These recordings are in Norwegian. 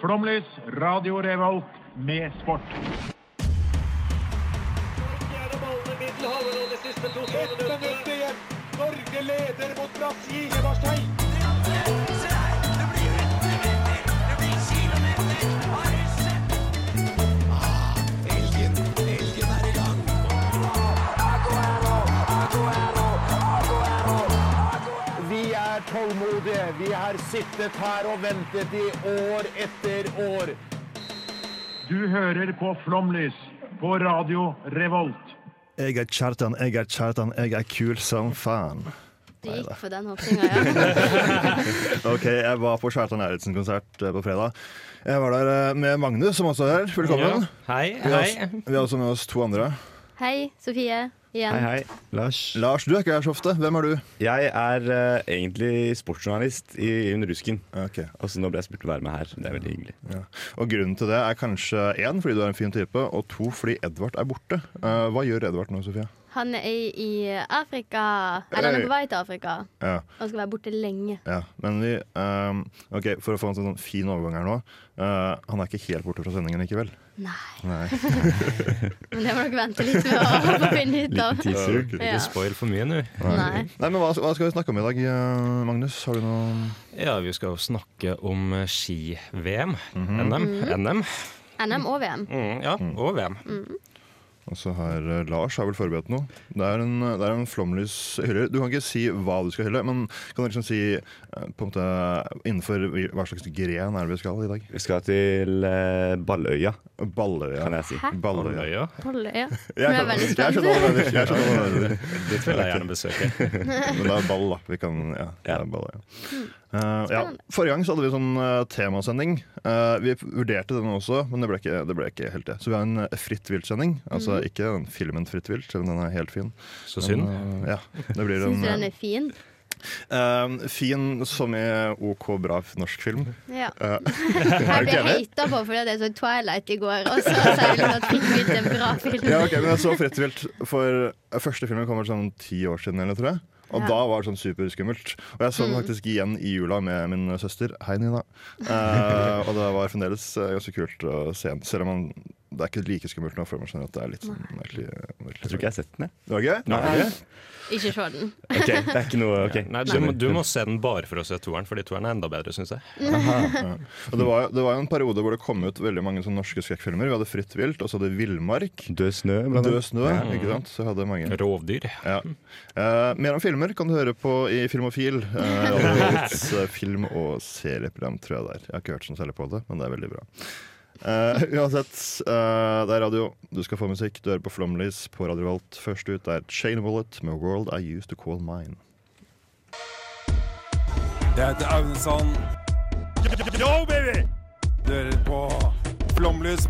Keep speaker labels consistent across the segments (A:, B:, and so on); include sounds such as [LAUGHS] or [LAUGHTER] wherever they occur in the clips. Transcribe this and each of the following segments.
A: Flomlys, Radio Revolt med sport.
B: Ett minutt igjen. Norge leder mot Brasil. Marstein.
C: Vi er tålmodige. Vi har sittet her og ventet i år etter år.
A: Du hører på Flomlys på Radio Revolt.
D: Jeg er Kjartan, jeg er Kjartan, jeg er kul som faen.
E: Det gikk for den hoppinga, ja.
D: Ok, jeg var på Kjartan Eiritsen-konsert eh, på fredag. Jeg var der eh, med Magnus, som også er her. Velkommen.
F: Hei,
D: Vi har også- Vi har også med oss to andre.
E: Hei, Sofie. Igjen.
G: Hei, hei. Lars.
D: Lars, du er ikke her så ofte. Hvem er du?
G: Jeg er eh, egentlig sportsjournalist i Under Rusken.
D: Ok.
G: Og så nå ble jeg spurt å være med her. Det er veldig hyggelig.
D: Ja. Og grunnen til det er kanskje én, fordi du er en fin type, og to, fordi Edvard er borte. Eh, hva gjør Edvard nå, Sofie?
E: Han er i, i Afrika. Eller han er på vei til Afrika.
D: Ja,
E: Han skal være borte lenge.
D: ja. Men vi ehm, Ok, for å få en sånn fin overgang her nå. eh, han er ikke helt borte fra sendingen likevel.
E: Nei,
D: Nei.
E: men det må dere vente litt med å få finne ut av.
G: Teaser.
E: Ja.
F: Spoil for mye nå.
E: Nei.
D: Nei, men hva, hva skal vi snakke om i dag, eh, Magnus? Har du noe
F: Ja, vi skal jo snakke om eh, ski-VM. NM. NM.
E: NM og VM.
F: Mm, ja, og VM.
D: Og så har eh, Lars har vel forberedt noe. Det er en, det er en flomlyshyller. Du kan ikke si hva du skal hylle, men kan du liksom si eh, på en måte innenfor vi- hva slags gren er det vi skal i dag?
G: Vi skal til eh, Balløya,
D: Balløya.
G: kan jeg si.
E: Hæ?
D: Balløya.
E: Hold det, ja.
D: Jeg
E: Nå er jeg
D: kan-
E: veldig
D: jeg er
E: spent.
D: sånn allerede. Jeg er sånn allerede.
F: Dit vil jeg gjerne besøke.
D: Men det er ball, da. Vi kan, ja, det er ball, ja. Eh, ja.
E: Spennende.
D: Forrige gang så hadde vi sånn eh, temasending. Eh, vi vurderte den også, men det ble ikke, det ble ikke helt det. Så vi har en eh, fritt vilt-sending. Altså
E: Mhm.
D: ikke den filmen Fritt vilt, selv om den er helt fin.
F: Så synd.
D: Men, eh, ja, det blir
E: Syns
D: en
E: du den er fin?
D: eh, fin som i OK bra norsk film.
E: Ja. [LAUGHS]
D: Eh,
E: Jeg ble
D: ikke enig?
E: hata på fordi at jeg så Twilight i går, og så sa jeg liksom at fikk vi til en bra film.
D: Ja, ok, men jeg så Fritt vilt for første filmen kom vel sånn ti år siden, eller tror jeg. Og
E: Ja.
D: da var det sånn superskummelt. Og jeg så den faktisk igjen i jula med min søster. Hei, Nina. Eh, og det var fremdeles eh, ganske kult å se den. Selv om man, det er ikke like skummelt nå, for man skjønner at det er litt sånn merkelig. merkelig.
G: Jeg tror ikke jeg har sett den, jeg.
D: Det var gøy?
G: Nei.
E: Ikke se den.
G: Ok, det er ikke noe ok.
F: Nei, du, må- du må se den bare for å se toeren, fordi toeren er enda bedre, syns jeg.
D: Og det var, det var jo en periode hvor det kom ut veldig mange sånne norske skrekkfilmer. Vi hadde Fritt vilt, og så hadde vi Villmark.
G: Død snø, blant
D: Død
G: annet.
D: snø, ikke sant? Så hadde
F: Mm.
D: mange.
F: Rovdyr.
D: Ja. Eh, mer om filmer kan du høre på i Filmofil. eh, Radio
E: [LAUGHS]
D: Revolts, eh, film- og serieprogram, tror jeg det er. Jeg har ikke hørt så særlig på det, men det er veldig bra. Eh, uansett, eh, det er radio. Du skal få musikk. Du hører på Flomlys på Radio Volt. Først ut er Shane Wallet med 'World I Used To Call Mine'.
B: Jeg heter Aunesson. Yo, baby! Du hører på Flomlys.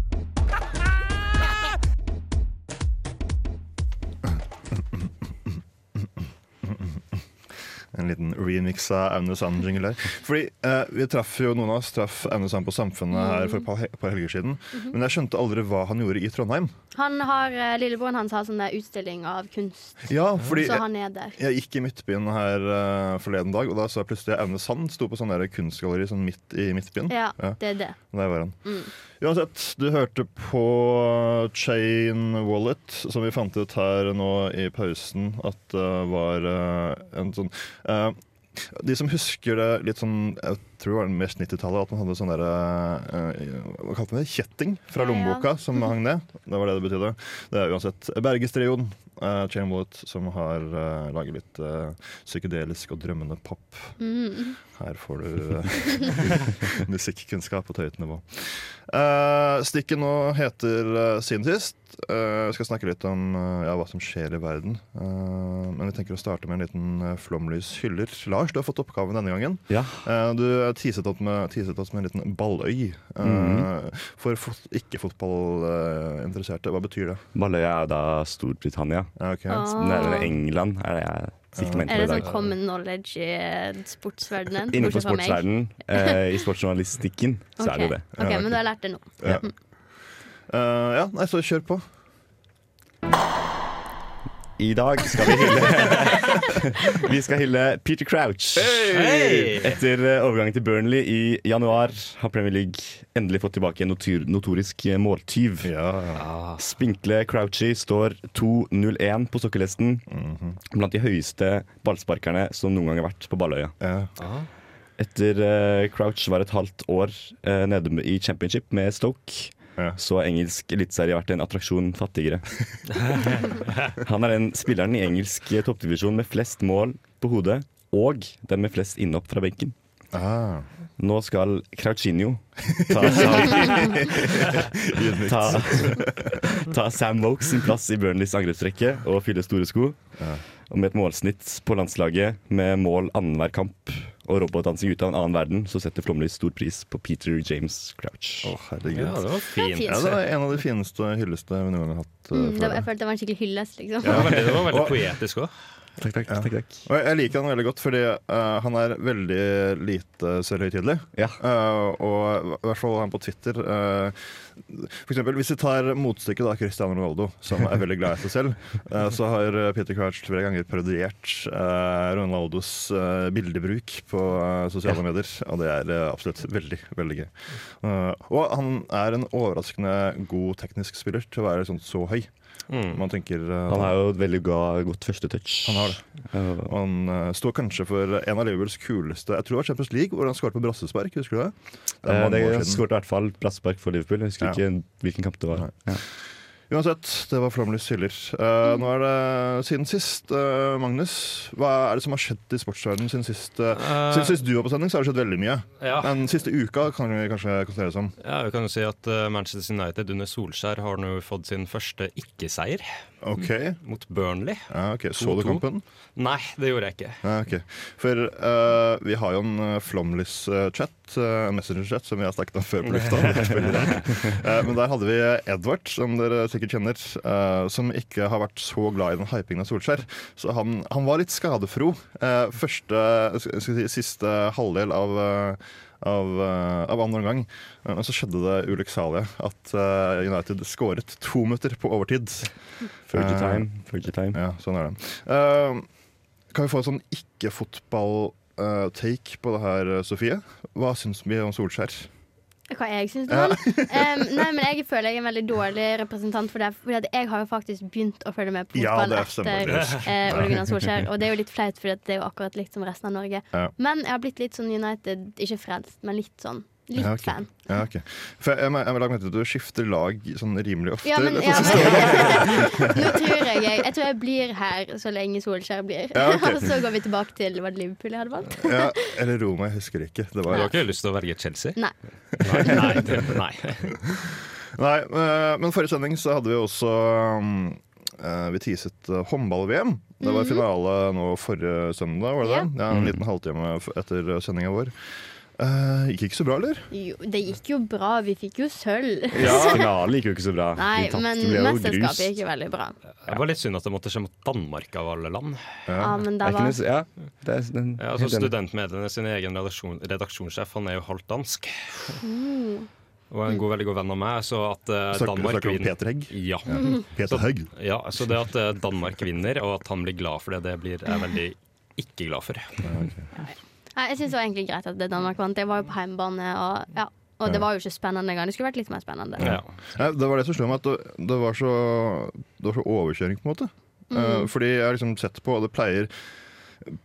D: En liten remix av Aune Sand-jingle der. Fordi eh, vi traff jo noen av oss traff Aune Sand på Samfunnet her for et par, he- par helger siden.
E: Mhm.
D: Men jeg skjønte aldri hva han gjorde i Trondheim.
E: Han har, eh, Lillebroren hans har sånn der utstilling av kunst,
D: Ja, fordi
E: så han er der.
D: Jeg gikk i Midtbyen her eh, forleden dag, og da så jeg plutselig Aune Sand sto på sånn der kunstgalleri sånn midt i Midtbyen.
E: Ja, det er det.
D: Der var han.
E: Mm.
D: Uansett, du hørte på uh, Chain Wallet, som vi fant ut her nå i pausen at eh, var eh, en sånn eh, de som husker det litt sånn Jeg tror det var mest 90-tallet. At man hadde sånn der eh, Hva kalte man det? Kjetting fra
E: Ja, ja.
D: lommeboka
E: [LAUGHS]
D: som hang ned. Det var det det betydde. Det er uansett Bergestrioen, uh, Chain Wallet, som har eh, laget litt eh, psykedelisk og drømmende pop.
E: Mm.
D: Her får du uh, eh, musikkunnskap på et høyt nivå. Eh, stikket nå heter eh, Siden sist. Eh, Vi skal snakke litt om eh, ja, hva som skjer i verden. Eh, men vi tenker å starte med en liten eh, flomlyshyller. Lars, du har fått oppgaven denne gangen.
G: Ja.
D: Eh, du teaset oss med, teaset oss med en liten balløy. eh, For fot ikke-fotballinteresserte, hva betyr det?
G: Balløya er da Storbritannia.
D: Ja, ok.
E: Ah.
G: Nærmere England er det jeg sikter meg
E: Er
G: inn på
E: det
G: i
E: sånn
G: dag.
E: common knowledge i eh,
D: [LAUGHS]
E: sportsverdenen?
G: Innenfor
E: Bortsett fra meg.
G: sportsverdenen, eh, i sportsjournalistikken, så er det jo det.
E: Ok, ok, men du har lært det nå.
D: Eh, ja, nei, så kjør på.
G: I dag skal vi hylle
D: [LAUGHS]
G: Vi skal hylle Peter Crouch.
F: Hei!
G: Etter eh, overgangen til Burnley i januar har Premier League endelig fått tilbake en notur, notorisk eh, måltyv.
D: Ja,
G: Spinkle Crouchy står 2-0-1 på sokkelhesten.
D: Mhm.
G: Blant de høyeste ballsparkerne som noen gang har vært på Balløya.
D: ja.
G: Etter eh, Crouch var et halvt år eh, nede med- i championship med Stoke,
D: Ja.
G: så har engelsk eliteserie vært en attraksjon fattigere. Han er den spilleren i engelsk toppdivisjon med flest mål på hodet, og den med flest innhopp fra benken.
D: Ah.
G: Nå skal Crouchinho ta Sam, ta, [LAUGHS] ta Sam Vokes sin plass i Burnleys angrepsrekke og fylle store sko. Og med et målsnitt på landslaget med mål annenhver kamp og robotdansing ut av en annen verden, så setter Flåmlys stor pris på Peter James Crouch.
D: Å, herregud.
F: Ja,
D: Ja,
F: det var fint.
E: fint.
F: Ja,
D: det var en av de fineste hylleste vi noen gang har hatt. eh,
E: Mm, det,
D: føler jeg.
E: var- jeg følte det var en skikkelig hyllest, liksom.
F: det var veldig, det var veldig poetisk òg.
G: Takk, takk, takk, takk.
D: Og jeg- jeg liker han veldig godt, fordi eh, han er veldig lite selvhøytidelig.
G: Ja.
D: Eh, og i hvert fall han på Twitter. eh, for eksempel, hvis vi tar motstykket da, Cristiano Ronaldo, som er veldig glad i seg selv,
G: [LAUGHS]
D: eh, så har eh, Peter Crouch flere ganger parodiert eh, Ronaldos eh, bildebruk på eh, sosiale medier. Og det er eh, absolutt veldig, veldig gøy. Eh, og han er en overraskende god teknisk spiller til å være sånn så høy. Man tenker eh,
G: Mm. Han har jo et veldig ga, godt første touch.
D: han har det. Og han eh, står kanskje for en av Liverpools kuleste Jeg tror det var Champions League, hvor han skåret på brassespark. Husker du det? Det
G: Eh,
D: er
G: det
D: mange år siden.
G: skåret i hvert fall brasspark for Liverpool. Jeg husker
D: Ja.
G: ikke hvilken kamp det var. Ja.
D: Uansett, det var Flåmlys hyller. Eh, Nå er det siden sist, eh, Magnus. Hva er det som har skjedd i sportsverdenen siden sist? eh,
F: Eh,
D: siden sist du var på sending, så har det skjedd veldig mye.
F: Ja.
D: Men siste uka kan vi kanskje konstatere det som.
F: Ja, vi kan jo si at eh, Manchester United under Solskjær har nå fått sin første ikke-seier
D: OK.
F: mot Burnley.
D: Ja, ok, Så du
F: 2-2.
D: kampen?
F: Nei, det gjorde jeg ikke.
D: Ja, ok. For eh, vi har jo en uh, Flomlys-chat, eh, en Messenger-chat, som vi har snakket om før på lufta. Det er veldig rart. Eh, men der hadde vi Edvard, som dere sikkert kjenner, eh, som ikke har vært så glad i den hypingen av Solskjær. Så han, han var litt skadefro eh, første, skal vi si, siste halvdel av eh, av, eh, av andre omgang. Eh, Og så skjedde det ulykksalige at eh, United skåret to minutter på overtid.
G: Fergie
D: Eh,
G: time. Fergie time.
D: Ja, sånn er det. Eh, kan vi få en sånn ikke-fotball-take på det her, eh, Sofie? Hva syns vi om Solskjær?
E: Hva jeg syns om han? [LAUGHS] Em, nei, men jeg føler jeg er en veldig dårlig representant for det. For jeg har jo faktisk begynt å følge med på
D: Ja,
E: fotball
D: det stemmer.
E: etter eh, Ole Gunnar Solskjær, og det er jo litt flaut, for det er jo akkurat likt som resten av Norge.
D: Ja.
E: Men jeg har blitt litt sånn United, ikke frelst, men litt sånn. Litt
D: Ja, ok.
E: fan.
D: Ja, ok. For jeg, jeg, må- jeg må lage merke til at du skifter lag sånn rimelig ofte.
E: Ja, men,
D: Det
E: ja,
D: synes jeg-
E: men [LAUGHS] Nå tror jeg jeg Jeg tror jeg blir her så lenge Solskjær blir.
D: Ja, ok.
E: [LAUGHS] og så går vi tilbake til Var det Liverpool jeg hadde valgt?
D: ja, eller Roma, jeg husker ikke. Det var,
F: Du har ikke lyst til å velge Chelsea?
E: Nei.
F: Nei, nei, det, nei.
D: Nei, eh, men forrige sending så hadde vi også um, eh, Vi teaset eh, håndball-VM. Det
E: Mhm.
D: var finale nå forrige søndag, var det det? Ja,
F: Mhm.
D: En liten halvtime f- etter sendinga vår. Eh, gikk ikke så bra, eller?
E: Jo, det gikk jo bra. Vi fikk jo sølv.
G: [LAUGHS] Ja. Finalen gikk jo ikke så bra.
E: Nei,
G: Vi tapte,
E: men
G: ble jo grust.
E: mesterskapet gikk jo veldig bra.
F: Det var litt synd at det måtte skje mot Danmark av alle land.
E: Ja, men det
G: Er ikke
E: var
G: det- Ja, det er den,
F: Ja, altså Studentmedlemmene sin egen redaksjon, redaksjonssjef han er jo halvt dansk.
E: Mm.
F: Og en god, veldig god venn av meg. Så at eh,
D: Snakker,
F: Danmark
D: snakker du om
F: vinner
D: Peter Hegg?
F: ja.
D: Peter Hegg.
F: ja, så det at eh, Danmark vinner, og at han blir glad for det, det blir jeg veldig ikke glad for.
E: Nei, Jeg syns det var egentlig greit at det Danmark vant. Jeg var jo på hjemmebane, og, ja. og det var jo ikke spennende engang. Det skulle vært litt mer spennende.
F: Ja.
D: Nei, det var det som slo meg, at det, det, var så, det var så overkjøring, på en måte. Eh, fordi jeg har liksom sett på, og det pleier,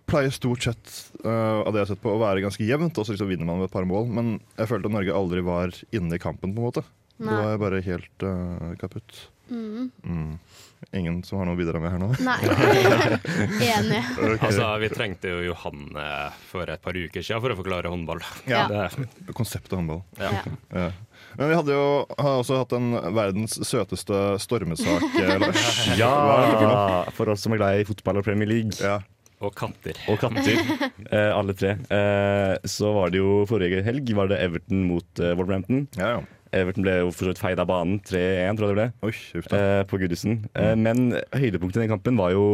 D: pleier stort sett eh, av det jeg har sett på, å være ganske jevnt, og så liksom vinner man med et par mål. Men jeg følte at Norge aldri var inne i kampen, på en måte.
E: Nei.
D: Da var jeg bare helt eh, kaputt.
E: Mm.
D: Mm. Ingen som har noe å bidra med her nå? [LAUGHS]
E: Nei. Enig.
F: Altså, vi trengte jo Johanne for et par uker siden for å forklare håndball.
E: Ja.
F: Det,
D: Konseptet håndball.
F: ja.
E: Ja.
D: Ja. Men vi hadde jo har også hatt den verdens søteste stormesak, eh, Lars.
G: [LAUGHS] Ja! For oss som er glad i fotball og Premier League.
D: Ja.
F: Og katter.
G: Og
E: [LAUGHS]
G: katter. eh, alle tre. Eh, så var det jo forrige helg var det Everton mot eh, Wolverhampton.
D: Ja, ja.
G: Everton ble jo for så vidt feid av banen. 3-1, tror jeg det ble.
D: Oi, uff da.
G: Eh, på Goodison. Eh, men høydepunktet i den kampen var jo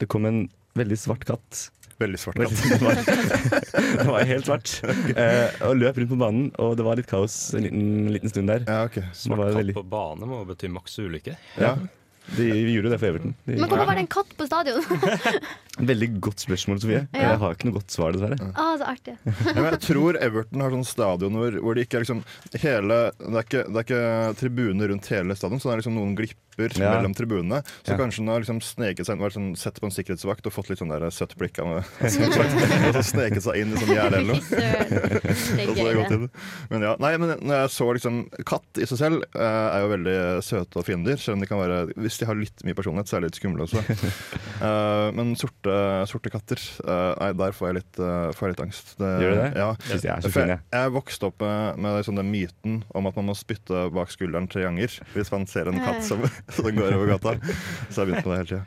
G: Det kom en veldig svart katt.
D: Veldig svart.
G: Veldig svart. det var [LAUGHS] helt svart. Eh, og løp rundt på banen, og det var litt kaos en liten, liten stund der.
D: Ja, ok.
G: Det var
F: Svart katt
G: veldig-
F: på bane må bety maks ulykke.
G: Ja. De vi gjorde jo det for Everton. De,
E: Men hvorfor var det en katt på stadion? [LAUGHS]
G: Veldig godt spørsmål, Sofie.
E: Ja.
G: Jeg har ikke noe godt svar, dessverre.
E: ah, så artig.
D: Ja, men jeg tror Everton har sånne stadioner hvor det ikke er liksom hele Det er ikke, det er ikke tribuner rundt hele stadion, så det er liksom noen glipper
G: Ja.
D: mellom tribunene. Så
G: Ja.
D: kanskje hun har liksom sneket seg inn, vært sånn, sett på en sikkerhetsvakt og fått litt sånn der søtt blikk av [LAUGHS] en sikkerhetsvakt, og så sneket seg inn i sånn gjerde eller noe.
E: Fy
D: Og
E: søren. Det er
D: så har
E: gøy,
D: jeg gått
E: det.
D: inn. Men ja, nei, men når jeg så liksom Katt i seg selv eh, er jo veldig søte og fine dyr, selv om de kan være Hvis de har litt mye personlighet, så er de litt skumle
G: [LAUGHS]
D: også. Eh, men sorte, sorte katter eh, Nei, der får jeg litt, eh, får jeg litt angst.
G: Gjør du det?
D: Ja.
G: Synes jeg er så
D: For
G: fin,
D: jeg,
G: jeg.
D: jeg vokste opp med, med liksom den myten om at man må spytte bak skulderen tre ganger hvis man ser en katt som, [LAUGHS] som går over gata. Så jeg begynte med det hele tida.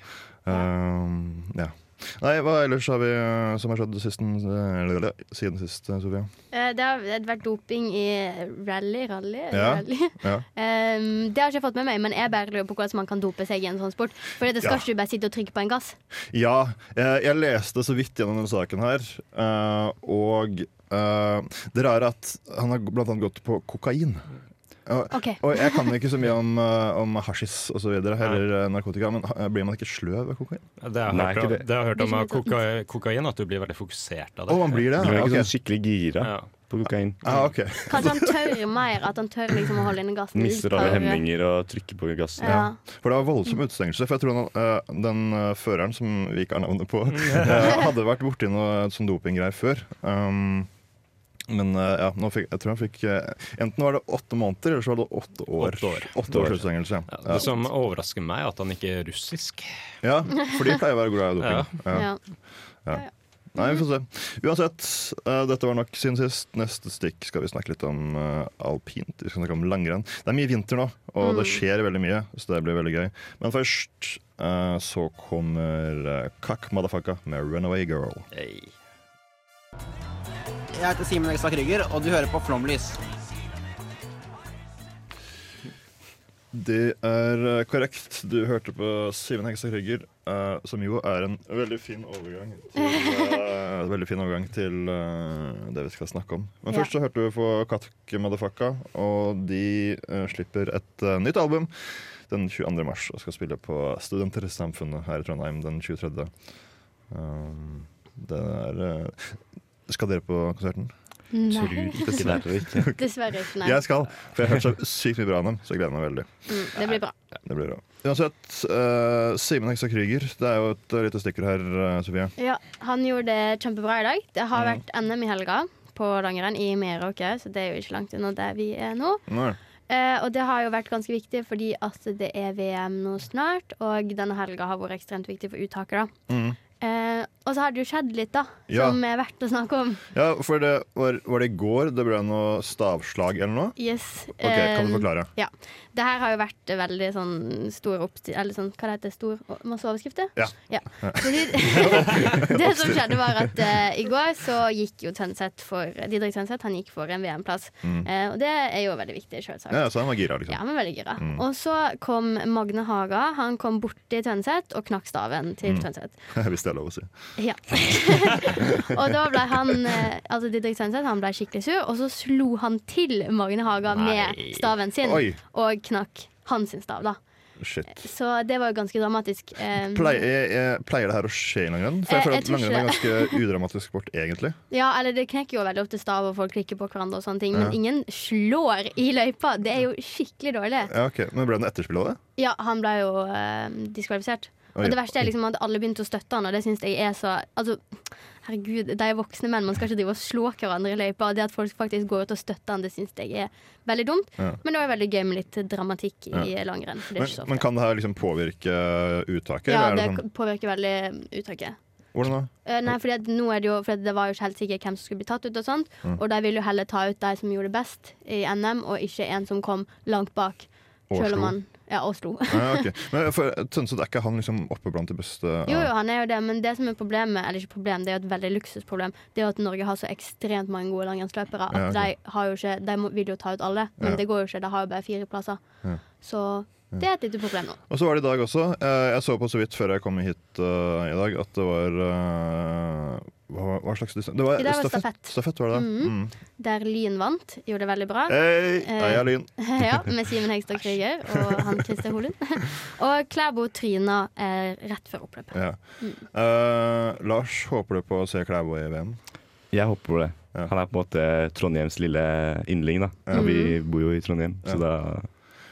D: ja. Nei, hva ellers har vi eh, som har skjedd sisten, eh, siden sist, eh, Sofia?
E: Eh, Det har det har vært doping i rally, rally,
D: Ja.
E: rally.
D: Ja.
E: Um, det har ikke jeg fått med meg, men jeg bare lurer på hvordan man kan dope seg i en sånn sport. For det skal
D: Ja.
E: ikke du bare sitte og trykke på en gass.
D: Ja, eh, jeg, jeg leste så vidt gjennom denne saken her, eh, og eh, det rare er at han har blant annet gått på kokain. Og,
E: Ok.
D: og jeg kan ikke så mye om, eh, om hasjis og så videre, eller eh, narkotika, men eh, blir man ikke sløv av kokain?
F: Det har jeg
G: Nei,
F: hørt,
G: ikke
F: om-
G: det.
F: det har jeg hørt om
E: Blir
F: av
E: ikke litt
F: koka- kokain, at du blir veldig fokusert av
D: Å,
F: det.
D: man blir det?
G: Blir man
D: Ja,
G: ikke sånn
D: Ah, ok.
G: skikkelig gira
F: Ja.
G: på kokain?
D: Ah, ok.
E: Kanskje han tør mer, at han tør liksom å holde inne gassen.
G: Mister
E: litt
G: alle
E: for-
G: hemninger og trykker på gassen.
E: Ja.
D: For det var voldsom utestengelse. For jeg tror han, eh, den eh, føreren, som vi ikke har navnet på, [LAUGHS] eh, hadde vært borti noe sånn dopinggreier før. Um, men eh, ja, nå fikk, jeg tror han fikk eh, Enten var det åtte måneder, eller så var det åtte år.
F: Åtte år.
D: års utestengelse.
F: Ja,
D: Ja.
F: det som overrasker meg, er at han ikke er russisk.
D: Ja, for de pleier å være glad i doping. Ja.
E: Ja.
D: Nei, vi får se. Uansett, eh, dette var nok siden sist. Neste stikk skal vi snakke litt om eh, alpint. Vi skal snakke om langrenn. Det er mye vinter nå, og det skjer veldig mye, så det blir veldig gøy. Men først eh, så kommer eh, Kakk Madafaka med Runaway Girl.
H: Jeg heter Simen Ekstad Krygger, og du hører på Flomlys.
D: Det er eh, korrekt. Du hørte på Simen Hegstad Krygger, eh, som jo er en veldig fin overgang til, eh, veldig fin overgang til eh, det vi skal snakke om. Men
E: Ja.
D: først så hørte vi på Katk Madafaka, og de eh, slipper et eh, nytt album den 22. mars og skal spille på Studentersamfunnet her i Trondheim den 23. Um, det er eh, Skal dere på konserten?
E: Nei,
G: Tror dessverre ikke.
E: [LAUGHS] dessverre ikke. Nei.
D: Jeg skal, for jeg har hørt så sykt mye bra om dem, så jeg gleder meg veldig.
E: Mm, det blir bra.
D: Det blir bra. Uansett, eh, Simen Heksa Krüger, det er jo et eh, lite stikkord her, eh, Sofie.
E: Ja, han gjorde det kjempebra i dag. Det har vært NM i helga på langrenn i Meråker, så det er jo ikke langt unna der vi er nå.
D: Nei.
E: Eh, og det har jo vært ganske viktig fordi at det er VM nå snart, og denne helga har vært ekstremt viktig for uttaket, da. Eh, og så har det jo skjedd litt, da,
D: Mm. Ja.
E: som er verdt å snakke om.
D: Ja, for det var, var det i går det ble noe stavslag eller noe?
E: Yes.
D: Ok, Kan du
E: eh,
D: forklare?
E: Ja. Det her har jo vært eh, veldig sånn stor oppstil... Eller sånn, hva det heter stor o- Masse overskrifter?
D: Ja.
E: Fordi,
D: [LAUGHS]
E: [LAUGHS] det som skjedde, var at eh, i går så gikk jo Tønseth for Didrik Tønseth han gikk for en VM-plass. Eh, og det er jo veldig viktig, sjølsagt.
D: Mm. Ja, så han var gira, liksom.
E: Ja, men veldig gira. Og så kom Magne Haga. Han kom borti Tønseth og knakk staven til
D: Mm.
E: Tønseth.
D: [LAUGHS] Hvis det er lov å si.
E: Ja. [LAUGHS] og da ble han eh, Altså Didrik Tønseth han ble skikkelig sur, og så slo han til Magne Haga med
F: Nei.
E: staven sin.
D: Oi.
E: Og knakk hans sin stav, da.
D: Shit.
E: Så det var jo ganske dramatisk. Eh,
D: Pleier, jeg, jeg, pleier det her å skje i langrenn? For jeg
E: Eh,
D: føler
E: jeg
D: at
E: tror
D: langrenn er
E: [LAUGHS]
D: ganske udramatisk sport, egentlig.
E: Ja, eller Det knekker jo veldig ofte stav, og folk klikker på hverandre, og sånne ting men ingen slår i løypa. Det er jo skikkelig dårlig.
D: Ja, ok. Men ble det noe etterspill av det?
E: Ja, han ble jo eh, diskvalifisert.
D: Oi.
E: Og det verste er liksom at alle begynte å støtte han, og det syns jeg er så Altså, herregud, de er voksne menn, man skal ikke drive og slå hverandre i løypa. Og det at folk faktisk går ut og støtter han, det syns jeg er veldig dumt.
D: Ja.
E: Men det var veldig gøy med litt dramatikk i langrenn. For det er
D: Men,
E: ikke så ofte.
D: men kan det her liksom påvirke uh, uttaket?
E: ja,
D: eller
E: det
D: er det sånn,
E: påvirker veldig uttaket.
D: hvordan da?
E: Eh, nei, fordi at nå er det jo Fordi det var jo ikke helt sikkert hvem som skulle bli tatt ut, og sånt
D: Mm.
E: Og de ville jo heller ta ut de som gjorde det best i NM, og ikke en som kom langt bak.
D: Og
E: Selv
D: slo.
E: om han Ja, og slo.
D: Ja, ok. Men for Tønseth, er ikke han liksom oppe blant de beste?
E: Jo, jo, han er jo det, men det som er problemet, eller ikke problem, det er jo et veldig luksusproblem, det er jo at Norge har så ekstremt mange gode langrennsløpere at
D: Ja, ok.
E: de, har jo ikke, de må, vil jo ta ut alle, men
D: Ja.
E: det går jo ikke. De har jo bare fire plasser. Så det er et lite problem nå.
D: Og så var det i dag også. Eh, Jeg så på så vidt før jeg kom hit eh, i dag at det var eh, Hva, hva slags distanse? Det var,
E: Det der var
D: stafett. Stafett var det. Mm.
E: Der Lyn vant, gjorde det veldig bra.
D: Hei,
E: Eh,
D: jeg er Lyn.
E: [LAUGHS] ja, med Simen Hegstad Krüger og han Christer Holund. [LAUGHS] og Klæbo tryna eh, rett før oppløpet.
D: Ja.
E: Mm.
D: Eh, Lars, håper du på å se Klæbo i VM?
G: Jeg håper på det.
D: Ja.
G: Han er på en måte Trondheims lille yndling, da. Og vi
E: Mm.
G: bor jo i Trondheim, så da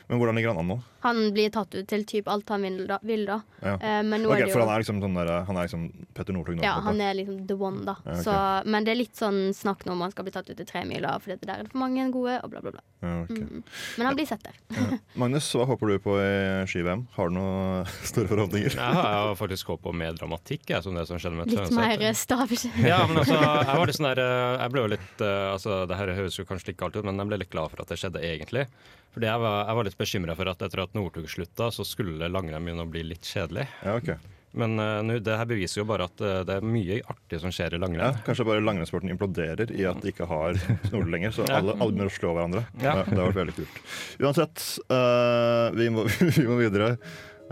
D: Men hvordan ligger han an nå?
E: Han blir tatt ut til typ alt han vil da. Vil, da.
D: Ja.
E: Eh, men nå
D: Ok,
E: er det
D: for
E: jo
D: han er liksom sånn der, han er liksom Petter Northug nå?
E: ja,
D: på en måte.
E: han er liksom the one, da.
D: ok.
E: Så, men det er litt sånn snakk nå om han skal bli tatt ut til tremila, for der er det for mange gode, og bla, bla, bla.
D: Ja, ok.
E: Men han blir sett der.
D: Magnus, hva håper du på i ski-VM? Har du noen [LAUGHS] store forhåpninger?
F: Jeg har jeg har faktisk håpet på mer dramatikk, jeg, som det som skjedde med
E: Litt
F: Tønseth.
E: mer eh, stavkjøring.
F: Ja, men altså, jeg var litt sånn der eh, Jeg ble jo litt eh, Altså, det her høres jo kanskje ikke alltid ut, men jeg ble litt glad for at det skjedde, egentlig. Fordi jeg var, jeg var litt bekymra for at etter at Northug slutta, så skulle langrenn begynne å bli litt kjedelig.
D: Ja, ok.
F: Men eh, nå, det her beviser jo bare at eh, det er mye artig som skjer i
D: Ja,
F: langrenn.
D: kanskje bare langrennssporten imploderer i at de ikke har snor lenger, så
F: Ja.
D: alle, alle begynner å slå hverandre. Ja.
F: Ja.
D: det har vært veldig kult. Uansett, eh, vi, må, [LAUGHS] vi må videre.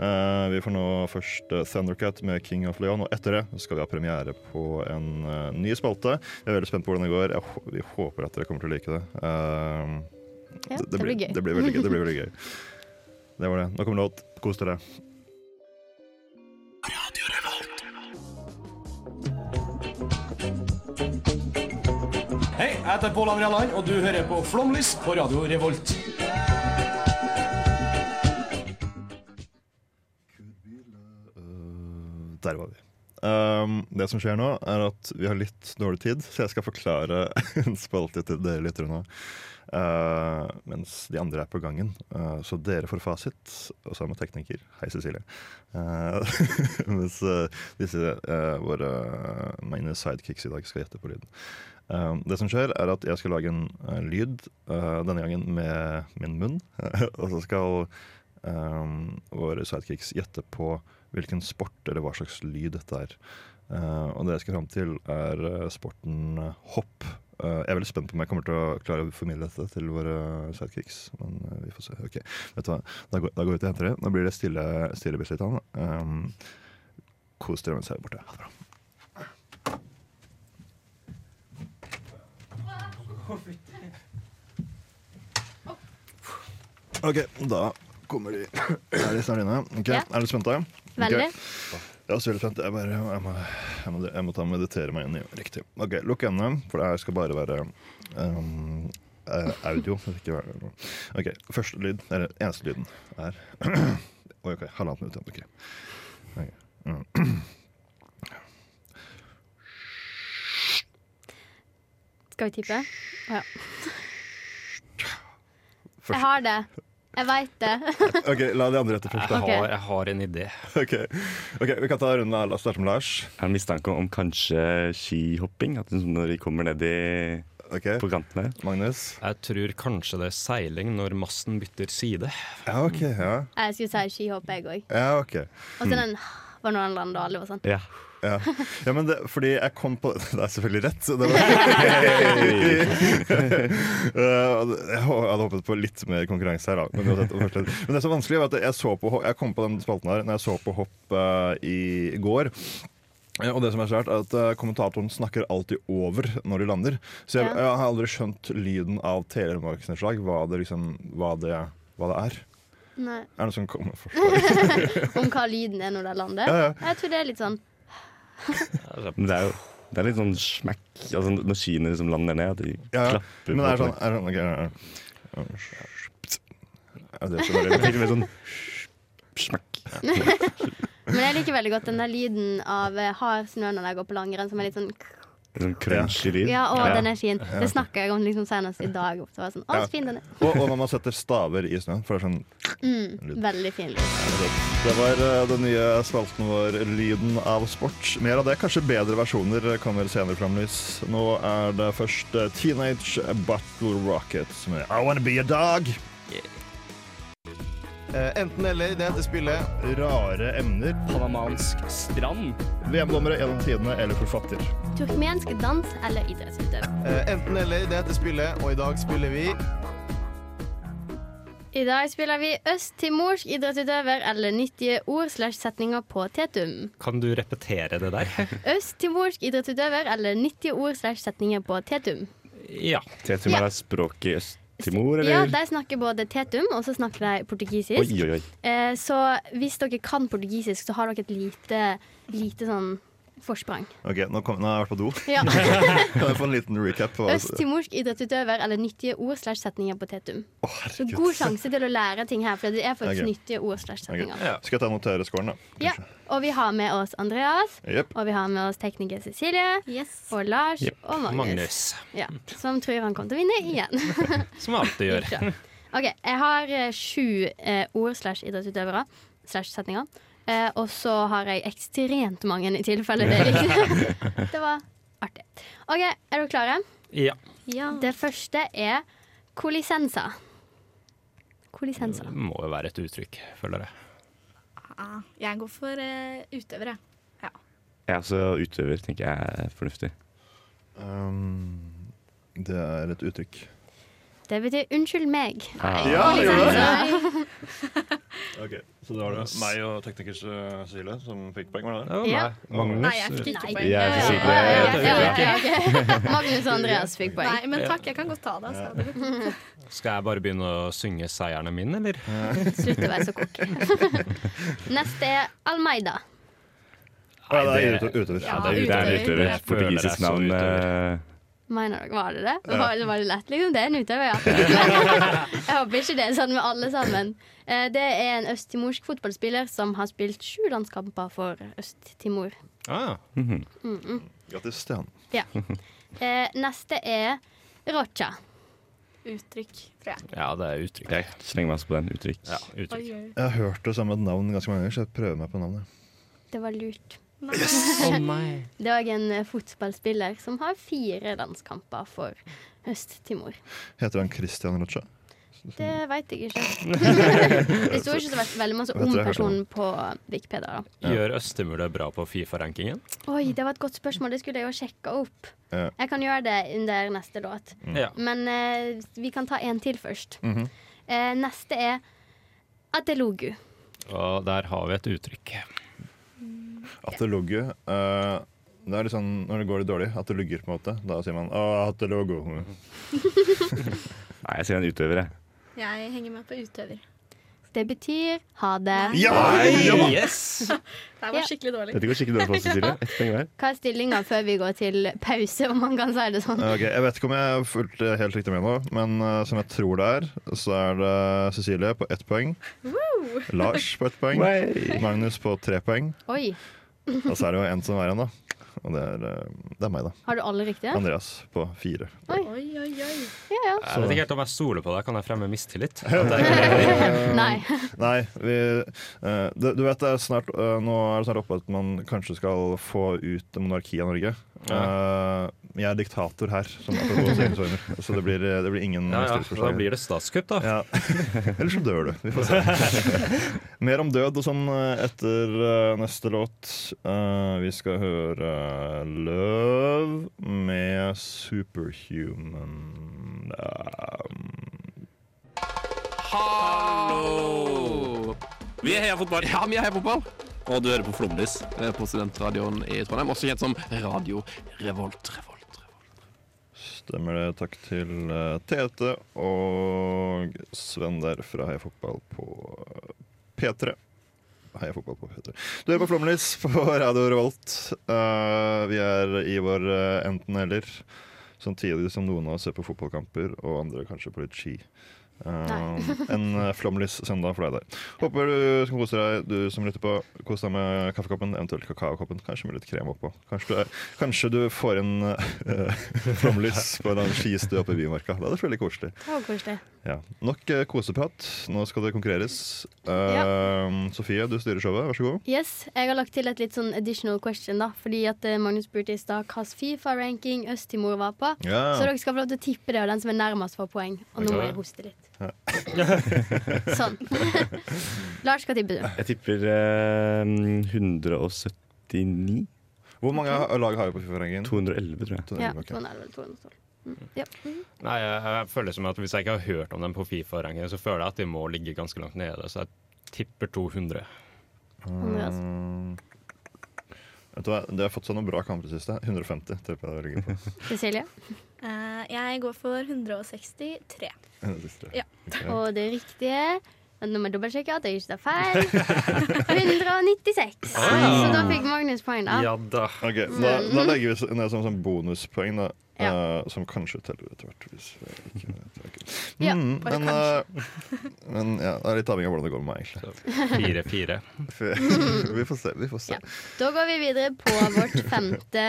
D: Eh, vi får nå først eh, Thundercat med King of Leon, og etter det skal vi ha premiere på en eh, ny spalte. Jeg er veldig spent på hvordan det går. Jeg, hå- vi håper at dere kommer til å like det. Eh,
E: Ja,
D: det,
E: det blir gøy.
D: Det blir veldig gøy. Det blir veldig gøy. Det var det. Nå kommer låt. Kos dere.
I: Hei, jeg heter Pål André Land, og du hører på Flomlys på Radio Revolt.
D: Der var vi. Um, det som skjer nå, er at vi har litt dårlig tid, så jeg skal forklare [LAUGHS] en spalte til dere lyttere nå. Uh, mens de andre er på gangen. Uh, så dere får fasit, og så er vi tekniker. Hei, Cecilie. Uh, [LAUGHS] mens uh, disse uh, våre eh, mine sidekicks i dag skal gjette på lyden. Um, det som skjer er at jeg skal lage en uh, lyd, uh, denne gangen med min munn. [LAUGHS] og så skal um, våre sidekicks gjette på hvilken sport eller hva slags lyd dette er. Eh, og det jeg skal fram til, er eh, sporten eh, hopp. Eh, jeg er veldig spent på om jeg kommer til å klare å formidle dette til våre sidekicks. Men eh, vi får se. Ok, vet du hva? Da går, da går jeg ut og henter det. Nå blir det stille, stille bitte litt. Anne. Um, kos dere mens jeg er borte. Ha det bra. Ok, da kommer de. [CLEARS THROAT] Er de snart inne? Ok,
E: Ja.
D: Er du spente?
E: Veldig.
D: Ok. Jeg er også veldig spent. Jeg, bare, jeg, må, jeg, må, jeg må ta og meditere meg inn i riktig. Ok, Lukk øynene, for det her skal bare være ehm, eh, audio. Det skal ikke være noe. Ok, Første lyd, eller eneste lyden, er [CLEARS THROAT] Oi, ok, halvannet minutt igjen. ok. Ok. Mm.
E: Skal vi tippe? Å, Ja.
D: Først-
E: Jeg har det. Jeg veit det.
D: ok, La de andre
F: [LAUGHS]
D: etter først.
F: Jeg,
E: Ok.
F: har, jeg har en idé.
D: da. Ok, Ok, Vi kan ta runden av Lars. Starte med Lars.
G: Jeg har en mistanke om kanskje skihopping. At liksom når vi kommer ned i,
D: Ok,
G: på kanten her.
D: Magnus.
F: Jeg tror kanskje det er seiling når masten bytter side.
D: Ja, ok. Ja,
E: Jeg skulle si skihopp, jeg òg.
D: ja ok.
E: Og så den var noe annet og alle var sånn.
G: Ja.
D: Ja. ja, men det, fordi jeg kom på [LAUGHS] Det er selvfølgelig rett. så Det var, [LAUGHS] Eh, jeg hå- hadde håpet på litt mer konkurranse her, da. Men, uansett, det var slett- men det som var vanskelig, var at jeg, så på, ho- jeg kom på den spalten her når jeg så på hopp eh, i går. Ja, og det som er svært er at eh, Kommentatoren snakker alltid over når de lander. Så jeg,
E: Ja.
D: jeg har aldri skjønt lyden av telemarksnedslag, hva, det liksom, hva, det, hva det er.
E: Nei.
D: Er det noen som kommer forslag?
E: Om hva lyden er når det lander?
D: Ja, ja.
E: Jeg tror det er litt sånn
G: Men det er jo det er litt sånn smekk. Altså når skiene liksom lander ned, at de
D: Ja, ja.
G: klapper
D: Men det er
G: på
D: sånn, er det sånn ok, ja, ja. Er [LAUGHS] det så veldig
G: Jeg tenker mer sånn smekk.
E: Men jeg liker veldig godt den der lyden av eh, hard snø når jeg går på langrenn, som er litt sånn
G: Sånn crunchy lyd.
E: Ja, å, den er fin. Det snakka jeg om liksom senest i dag. Så var jeg sånn, å, så fin den er.
D: Og, og når man setter staver i snøen. For det er sånn
E: Veldig fin lyd.
D: Det var eh, den nye spalten vår, Lyden av sport. Mer av det, kanskje bedre versjoner, kommer senere framlys. Nå er det først eh, Teenage Battle Rockets med I Wanna Be A Dog.
C: Enten-eller, Eh, det heter spillet.
D: Rare emner.
I: Panamansk strand.
D: VM-dommere gjennom tidene eller forfatter.
E: Turkmensk dans eller idrettsutøver?
C: Enten-eller, det heter spillet, og i dag spiller vi
E: I I dag spiller vi øst-timorsk idrettsutøver eller nyttige ord slash setninger på tetum.
F: Kan du repetere det der?
E: [LAUGHS] Øst-timorsk idrettsutøver eller nyttige ord slash setninger på tetum.
F: ja.
G: Tetum er språket i Øst-Timor,
E: Ja,
G: eller?
E: De snakker både tetum og så snakker de portugisisk.
G: Oi, oi, oi.
E: Eh, så hvis dere kan portugisisk, så har dere et lite, lite sånn forsprang.
D: Ok, nå, kom, nå har jeg vært på do.
E: [LAUGHS] Ja.
D: Kan jeg få en liten recap? på hva-
E: Øst-timorsk idrettsutøver eller nyttige ord slash setninger på tetum.
D: Å,
E: Så
D: herregud.
E: god sjanse til å lære ting her, for det er faktisk
D: Ok.
E: nyttige ord slash
D: Ok.
E: setninger.
D: Skal jeg ta og notere scoren, da?
E: Ja, og vi har med oss Andreas.
D: Jepp.
E: Og vi har med oss tekniker Cecilie
J: Yes.
E: og Lars og Magnus.
F: Magnus.
E: Ja, som tror han kommer til å vinne
D: [LAUGHS]
E: igjen.
F: Som jeg alltid gjør.
E: OK, jeg har eh, sju eh, ord slash idrettsutøvere slash setninger. Eh, og så har jeg ekstremt mange i tilfelle det er riktig.
D: [LAUGHS]
E: det var artig. OK, er dere klare?
F: Ja.
J: Ja.
E: Det første er kolisensa. Kolisensa.
F: Det må jo være et uttrykk, føler jeg.
J: Ah, Jeg går for eh, utøvere.
G: Jeg er også utøver, tenker jeg er fornuftig.
D: Um, det er et uttrykk.
E: Det betyr 'unnskyld meg'.
D: Ja,
E: Kolisensa.
D: [LAUGHS] Ok, Så da var det meg og teknikers uh, Cecilie som fikk poeng? var det det?
F: Ja,
E: Ja.
F: nei, Magnus.
J: Nei, jeg fikk ikke
E: Nei.
J: poeng.
G: Jeg er ikke sikker.
E: Ja,
G: Jeg-
E: ja, ja, [LAUGHS] ok. Magnus og Andreas fikk poeng.
J: Nei, men takk, jeg kan godt ta det. Altså.
F: Skal jeg bare begynne å synge seierne min, eller?
E: Slutt å være så kokk. [LAUGHS] Neste er Almeida.
D: Ja, det er ut- utover.
J: Ja,
G: Det er en
J: utøver.
G: utøver.
F: Jeg føler det er
G: Portugisisk
F: så
G: navn.
F: utøver.
G: eh,
E: Mener dere var det det? Var, var det lett, liksom? Det er en utøver, ja. [LAUGHS] Jeg håper ikke det er sånn med alle sammen. Eh, Det er en østtimorsk fotballspiller som har spilt sju landskamper for Øst-Timor.
F: Ah,
D: Grattis til han.
E: Ja. Eh, Neste er Rocha.
J: Uttrykk, tror jeg.
F: ja, det er uttrykk.
G: Jeg slenger meg også på den. Uttrykk.
F: Ja, uttrykk.
J: Oi, oi.
D: Jeg har hørt det samme navn ganske mange ganger, så jeg prøver meg på navnet.
E: Det var lurt.
J: Nei.
E: Det er òg en eh, fotballspiller som har fire landskamper for Øst-Timor.
D: Heter han Christian Rocha?
E: Det veit
D: [LAUGHS]
E: jeg ikke. Det sto ikke så veld- veldig masse om
D: Mm. Vet dere, jeg hørte
E: personen på Wikipedia. da
F: Gjør Østemur det bra på Fifa-rankingen?
E: Oi, det var et godt spørsmål. Det skulle jeg jo sjekka opp.
D: Ja. Mm.
E: Jeg kan gjøre det under neste låt.
F: Ja.
E: Men eh, vi kan ta en til først.
D: Mhm.
E: Eh, neste er Adelogu.
F: Og der har vi et uttrykk.
D: At det lugger eh, Det er litt sånn når det går litt dårlig, at det lugger, på en måte. Da sier man 'Å, at det lugger'.
G: Nei, jeg sier en utøver, jeg.
J: Jeg henger med på utøver.
E: Det betyr ha det.
D: Ja!
F: Yes!
J: Det
E: Ja.
J: var skikkelig dårlig.
G: Dette går skikkelig dårlig for oss, Cecilie. Ett poeng hver.
E: Hva er stillinga før vi går til pause, om man kan si det sånn?
D: Ok, Jeg vet ikke om jeg fulgte helt riktig med nå, men eh, som jeg tror det er, så er det Cecilie på ett poeng. Lars på ett poeng.
G: Nei.
D: Magnus på tre poeng.
E: Oi,
D: Og så er det jo en som er igjen, da. Og det er, eh, det er meg, da.
E: har du alle riktige?
D: Andreas på fire.
J: Oi, oi, oi.
E: Ja, ja.
F: Jeg vet ikke helt om jeg stoler på deg. Kan jeg fremme [LAUGHS] mistillit?
E: [LAUGHS] Nei.
D: Nei, vi eh, du, du vet det er snart eh, Nå er det snart oppe at man kanskje skal få ut monarkiet av Norge. Eh, jeg er diktator her, som apropos egensormer. Så det blir, eh, det blir ingen
F: Ja, ja,
D: mistillitsforslag.
F: da blir det statskupp, da.
D: [LAUGHS] Ja. Eller så dør du. Vi får se. Mer om død og sånn eh, etter eh, neste låt. Eh, vi skal høre Løv med Superhuman. Um,
I: Hallo! Vi heier fotball. Ja, vi heier fotball. Og du hører på Flomlys eh, på studentradioen i Trondheim, også kjent som Radio Revolt. Revolt, Revolt.
D: stemmer det. Takk til eh, Tete og Sven der fra Heia Fotball på eh, P3. Heia fotball på P3. Du er på Flomlys [LAUGHS] på Radio Revolt. Eh, vi er i vår eh, enten-eller. Samtidig som noen av oss ser på fotballkamper, og andre kanskje på litt ski. Eh, en eh, flomlys søndag for deg der. Håper du skal kose deg, du som lytter på. Kos deg med kaffekoppen, eventuelt kakaokoppen, kanskje med litt krem oppå. Kanskje, du er- kanskje du får en eh, [LAUGHS] flomlys på en eller annen skistue oppe i Bymarka. Det hadde vært veldig koselig.
E: Det var koselig.
D: Ja. Nok eh, koseprat. Nå skal det konkurreres. Eh, Sofie, du styrer showet. Vær så god.
E: Yes, jeg har lagt til et litt sånn additional question, da. Fordi at eh, Magnus spurte i stad hvilken Fifa-ranking Øst-Timor var på.
D: Ja.
E: Så dere skal få lov til å tippe det, og den som er nærmest, får poeng. Og nå må jeg hoste litt. [LAUGHS] sånn. Lars, hva tipper du?
G: Jeg tipper eh, 179?
D: Hvor mange ha- lag har vi på Fifa-rangen?
G: 211, tror jeg.
E: Ja,
D: Ok.
E: sånn 211 eller 212. Ja. Mm.
F: Nei, jeg, jeg føler som at Hvis jeg ikke har hørt om dem på Fifa-rangen, så føler jeg at de må ligge ganske langt nede. Så jeg tipper 200.
E: Andreas.
D: Mm. Vet du hva, De har fått seg noen bra kamper i det siste. 150. tipper jeg det ligger [LAUGHS] på.
E: Cecilie.
J: Eh, jeg går for 163. Ja.
D: Ok.
E: Og det riktige men Nå må jeg dobbeltsjekke at jeg ikke tar feil. 196. Så da fikk Magnus poeng, da.
F: Ja da.
D: Ok, da, da legger vi ned som sånn bonuspoeng, da. eh, som kanskje teller etter hvert. Hvis jeg ikke vet. Ok.
E: Ja,
D: Mm,
J: bare
D: men, eh, men ja, det er litt avhengig av hvordan det går med meg,
E: [LAUGHS]
D: egentlig.
F: 4-4.
D: vi får se. vi får se
E: Ja. Da går vi videre på vårt femte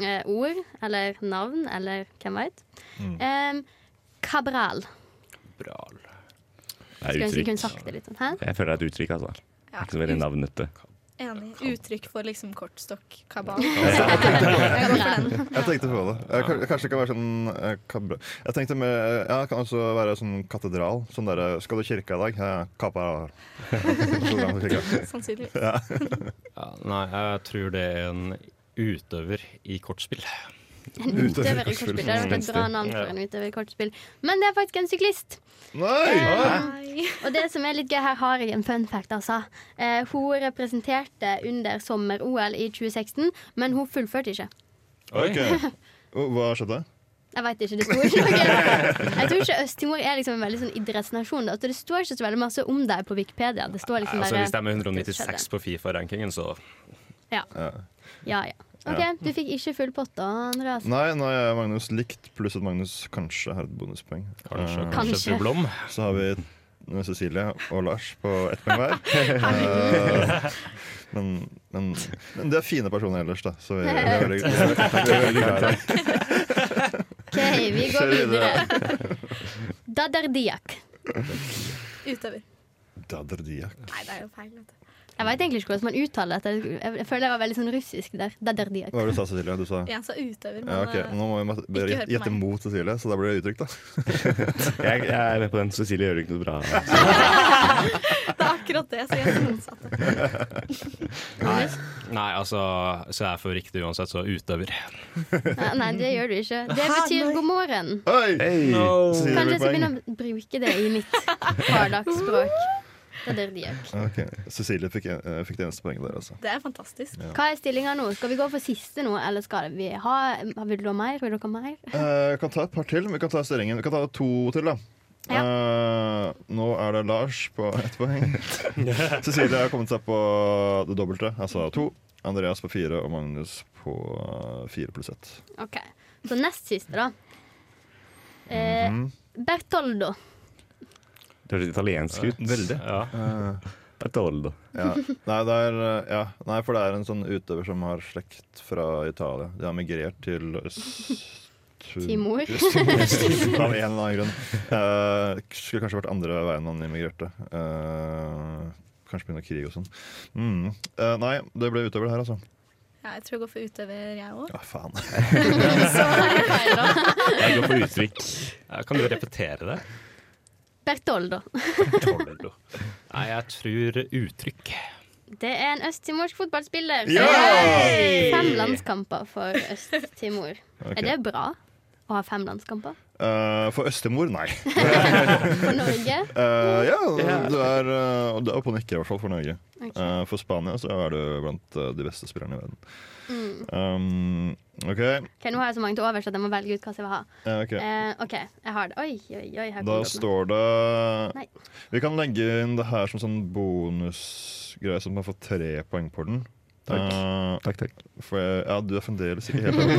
E: eh, ord, eller navn, eller hvem veit. Em, Cabral.
F: Bral.
G: Det
E: Skulle
G: er
E: ønske jeg kunne
G: uttrykk.
E: sagt det litt sånn. Hæ?
G: Jeg føler [LAUGHS] det er et uttrykk, altså.
J: Ja.
G: Ikke så veldig navnete.
J: Enig. Uttrykk for liksom [LAUGHS] kortstokk-kabal.
D: Jeg tenkte på det. Jeg, kan- kanskje det kan være sånn eh, kabra. Jeg tenkte med, ja, det kan også være sånn katedral. Sånn derre Skal du i kirka i dag? Ja, kappa. [LAUGHS] Så kan du kirka.
J: Sannsynligvis.
F: Ja, nei, jeg tror det er en utøver i kortspill.
E: En utøver i kortspill. Det hadde vært et bra navn for en utøver i kortspill. Men det er faktisk en syklist.
D: Nei!
J: Nei.
E: Og det som er litt gøy, her har jeg en fun fact, altså. Eh, hun representerte under sommer-OL i 2016, men hun fullførte ikke.
D: Ok. Oh, Hva skjedde?
E: Jeg veit ikke, det sto ikke noe. Jeg tror ikke Øst-Timor er liksom en veldig sånn idrettsnasjon. Da. Så det står ikke så veldig masse om deg på Wikipedia. Det står liksom
F: Altså,
E: bare
F: hvis de er 196 på Fifa-rankingen, så
E: Ja, ja. OK, du fikk ikke full pott da, Andreas.
D: Nei, nå er Magnus likt, pluss at Magnus kanskje har et bonuspoeng.
F: kanskje,
D: Eh,
F: kanskje.
E: Kanskje.
F: fru Blom.
D: Så har vi Cecilie og Lars på ett poeng hver. Eh, Men, men, men de er fine personer ellers, da. Så vi, vi er veldig, vi er veldig, vi er veldig glad i dem.
E: OK,
D: [LAUGHS]
E: vi går
D: Kjør videre.
E: videre. Dadardiak.
J: Utøver.
D: Dadderdiak.
J: Nei, det er jo feil. vet du.
E: Jeg veit egentlig ikke hvordan man uttaler dette. Jeg jeg føler jeg var veldig sånn russisk der. Dadardiak.
D: Hva var det du sa, Cecilie? Du sa
J: Jeg sa utøver, men
D: Ja, ok.
J: eh,
D: Nå må vi mat- bare
J: ikke hør på
D: gjette
J: meg.
D: mot Cecilie, så da blir det uttrykk, da.
G: Jeg, jeg er med på den. Cecilie gjør det ikke noe bra.
J: det er akkurat det. Så jeg er det [LAUGHS] motsatte.
F: Nei. Nei, altså, så er jeg for riktig uansett, så utøver.
E: Ja, Nei, det gjør du ikke. Det betyr god morgen.
D: Oi!
G: Hey.
D: Cecilie blir
E: Kanskje jeg skal
D: poeng.
E: begynne å bruke det i mitt hverdagsspråk. Dadardiak.
D: Ok, Cecilie fikk, eh, fikk det eneste poenget der, altså.
J: Det er fantastisk.
E: Hva er stillinga nå? Skal vi gå for siste nå, eller skal vi ha Vil du ha mer? Vil dere ha mer?
D: Eh, Vi kan ta et par til. Vi kan ta stillingen. Vi kan ta to til, da. Eh, nå er det Lars på ett poeng. Cecilie har kommet seg på det dobbelte, altså to. Andreas på fire og Magnus på eh, fire pluss ett.
E: Ok, Så nest siste, da. Eh, Bertoldo.
G: Det høres italiensk ut. Veldig.
F: Ja.
G: Bertoldo.
D: Ja. Nei, det er, eh, ja. Nei, for det er en sånn utøver som har slekt fra Italia. De har migrert til øst... [LAUGHS]
E: Timor.
D: Øst-Timor, Av en eller annen grunn. Eh, skulle kanskje vært andre veien han immigrerte. Eh, kanskje pga. krig og sånn. Mm. Eh, nei, det ble utøver, det her, altså.
J: Ja, jeg tror jeg går for utøver, jeg òg.
D: Ja, faen.
G: Jeg går for uttrykk.
F: [LAUGHS] Ja, Kan du repetere det?
E: Bertoldo.
F: Tollo. Nei, jeg tror uttrykk.
E: Det er en østtimorsk fotballspiller.
D: Ja!
E: Hey! Fem landskamper for Øst-Timor.
D: Ok.
E: Er det bra å ha fem landskamper?
D: Eh, for Østemor, nei.
E: For Norge?
D: Eh, ja, du er, eh, du er oppe og nikker, i hvert fall, for Norge.
E: Ok.
D: Eh, for Spania så er du blant eh, de beste spillerne i verden.
E: Mm.
D: Um, OK.
E: Ok, Nå har jeg så mange til overs at jeg må velge ut hva jeg vil ha.
D: eh, ok.
E: Eh, OK, jeg har det. Oi, oi, oi. Her
D: Da
E: kommer det opp nå.
D: står det
E: Nei.
D: Vi kan legge inn det her som sånn bonusgreie, så man får tre poeng på den. Eh,
G: Takk, takk.
D: for jeg, ja, du er fremdeles ikke helt over.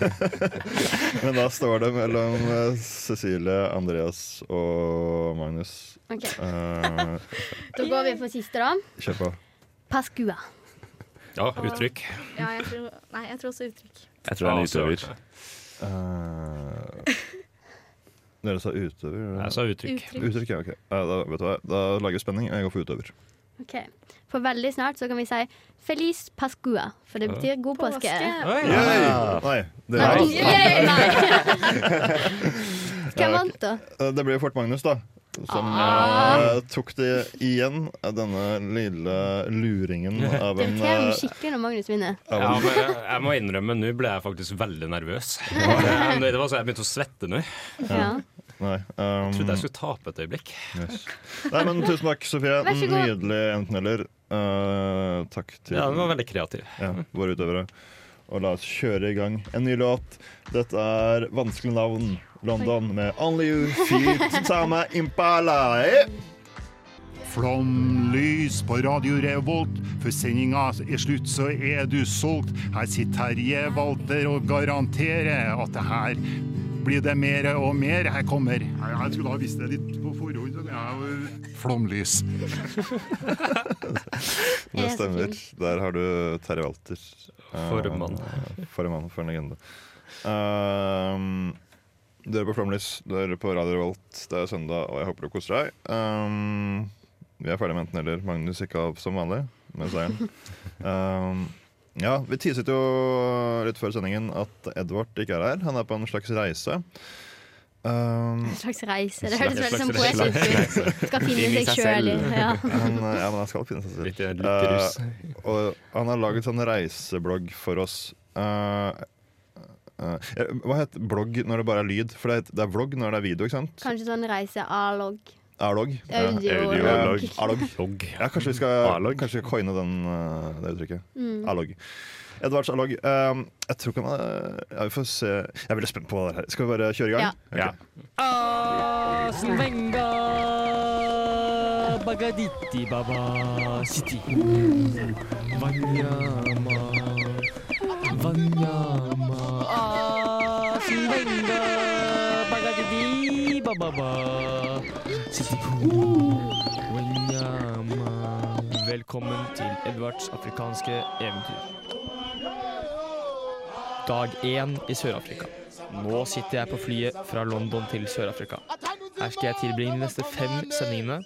D: [LAUGHS] Men da står det mellom eh, Cecilie, Andreas og Magnus.
E: Ok,
D: Eh,
E: Da går vi for siste, da.
D: kjør på.
E: Pascua.
F: Ja, uttrykk.
J: Ja, jeg tror, nei, jeg tror også uttrykk.
G: Jeg tror det er en
F: Altså,
G: utøver.
D: Eh, dere sa utøver?
F: Jeg sa uttrykk.
J: Uttrykk.
D: Uttrykk, ja. ok. Eh, da, vet du hva? da lager vi spenning. Jeg går for utøver.
E: Ok, For veldig snart så kan vi si Feliz Pascua, for det betyr god påske.
F: Oi.
D: Nei, det, [LAUGHS]
E: Nei, Yay, nei. Hvem vant, da?
D: Eh, det blir Fort Magnus, da. Som
E: Ah.
D: eh, tok det igjen, eh, denne lille
E: [LAUGHS]
D: luringen av
E: Det
D: en
E: irriterer meg
D: eh,
E: skikkelig når Magnus vinner.
D: av
F: Ja,
D: en-
F: men jeg, jeg må innrømme, nå ble jeg faktisk veldig
E: [LAUGHS]
F: nervøs. Det var- det var så jeg begynte å svette nå.
E: Ja.
D: Nei, um,
F: Trodde jeg skulle tape et øyeblikk.
D: yes. [LAUGHS] Nei, men tusen takk, Sofie.
E: Vær så god.
D: Nydelig enten-eller. Eh, takk til
F: Ja, den var veldig kreativ.
D: ja, våre utøvere. Og la oss kjøre i gang en ny låt. Dette er vanskelig navn. London med Only You Feet Sama Impala. Eh?
A: Flomlys på Radio Revolt, for sendinga er slutt, så er du solgt. Her sitter Terje Walter og garanterer at det her blir det mer og mer. Her kommer Jeg skulle ha visst det litt på forhånd. så jeg er jo- Flomlys.
E: Jeg
D: Det
E: er så
D: stemmer.
E: fin.
D: Der har du Terje Walter. Eh,
F: Formann.
D: Formann for en legende. Um, du hører på Flomlys, du hører på Radio Revolt. Det er søndag, og jeg håper du koser deg. Um, vi er ferdig med enten-eller. Magnus gikk av som vanlig med seieren. Um, ja, Vi teaset jo litt før sendingen at Edvard ikke er her. Han er på en slags reise. Um,
E: En slags reise. Det
F: En
E: høres veldig
F: slags
E: sånn
F: [LAUGHS]
E: poetisk ut. Skal
G: Inn
E: finne
G: i
E: seg
G: seg
E: sjøl.
G: selv.
E: Ja.
D: han, ja, men han skal finne seg selv.
F: Litt, litt rus.
D: Eh, og han har laget sånn reiseblogg for oss. Eh, eh, eh, hva heter blogg når det bare er lyd? For det er, det er vlogg når det er video, ikke sant?
E: Kanskje sånn reise A-logg.
D: Erlog. Ja.
E: Audiolog.
D: Eh, Erlog.
F: Logg.
D: Ja, kanskje vi skal,
G: Erlog.
D: kanskje vi skal coine den, eh, det uttrykket.
E: Mm.
D: Erlog. Edvards Erlog. Eh, jeg tror ikke han er ja, Vi får se. Jeg er veldig spent på hva det er. Skal vi bare kjøre i gang?
E: Ja.
D: Ok.
G: Ja.
D: [LAUGHS]
K: Velkommen til Edvards afrikanske eventyr. Dag én i Sør-Afrika. Nå sitter jeg på flyet fra London til Sør-Afrika. Her skal jeg tilbringe de neste fem sendingene.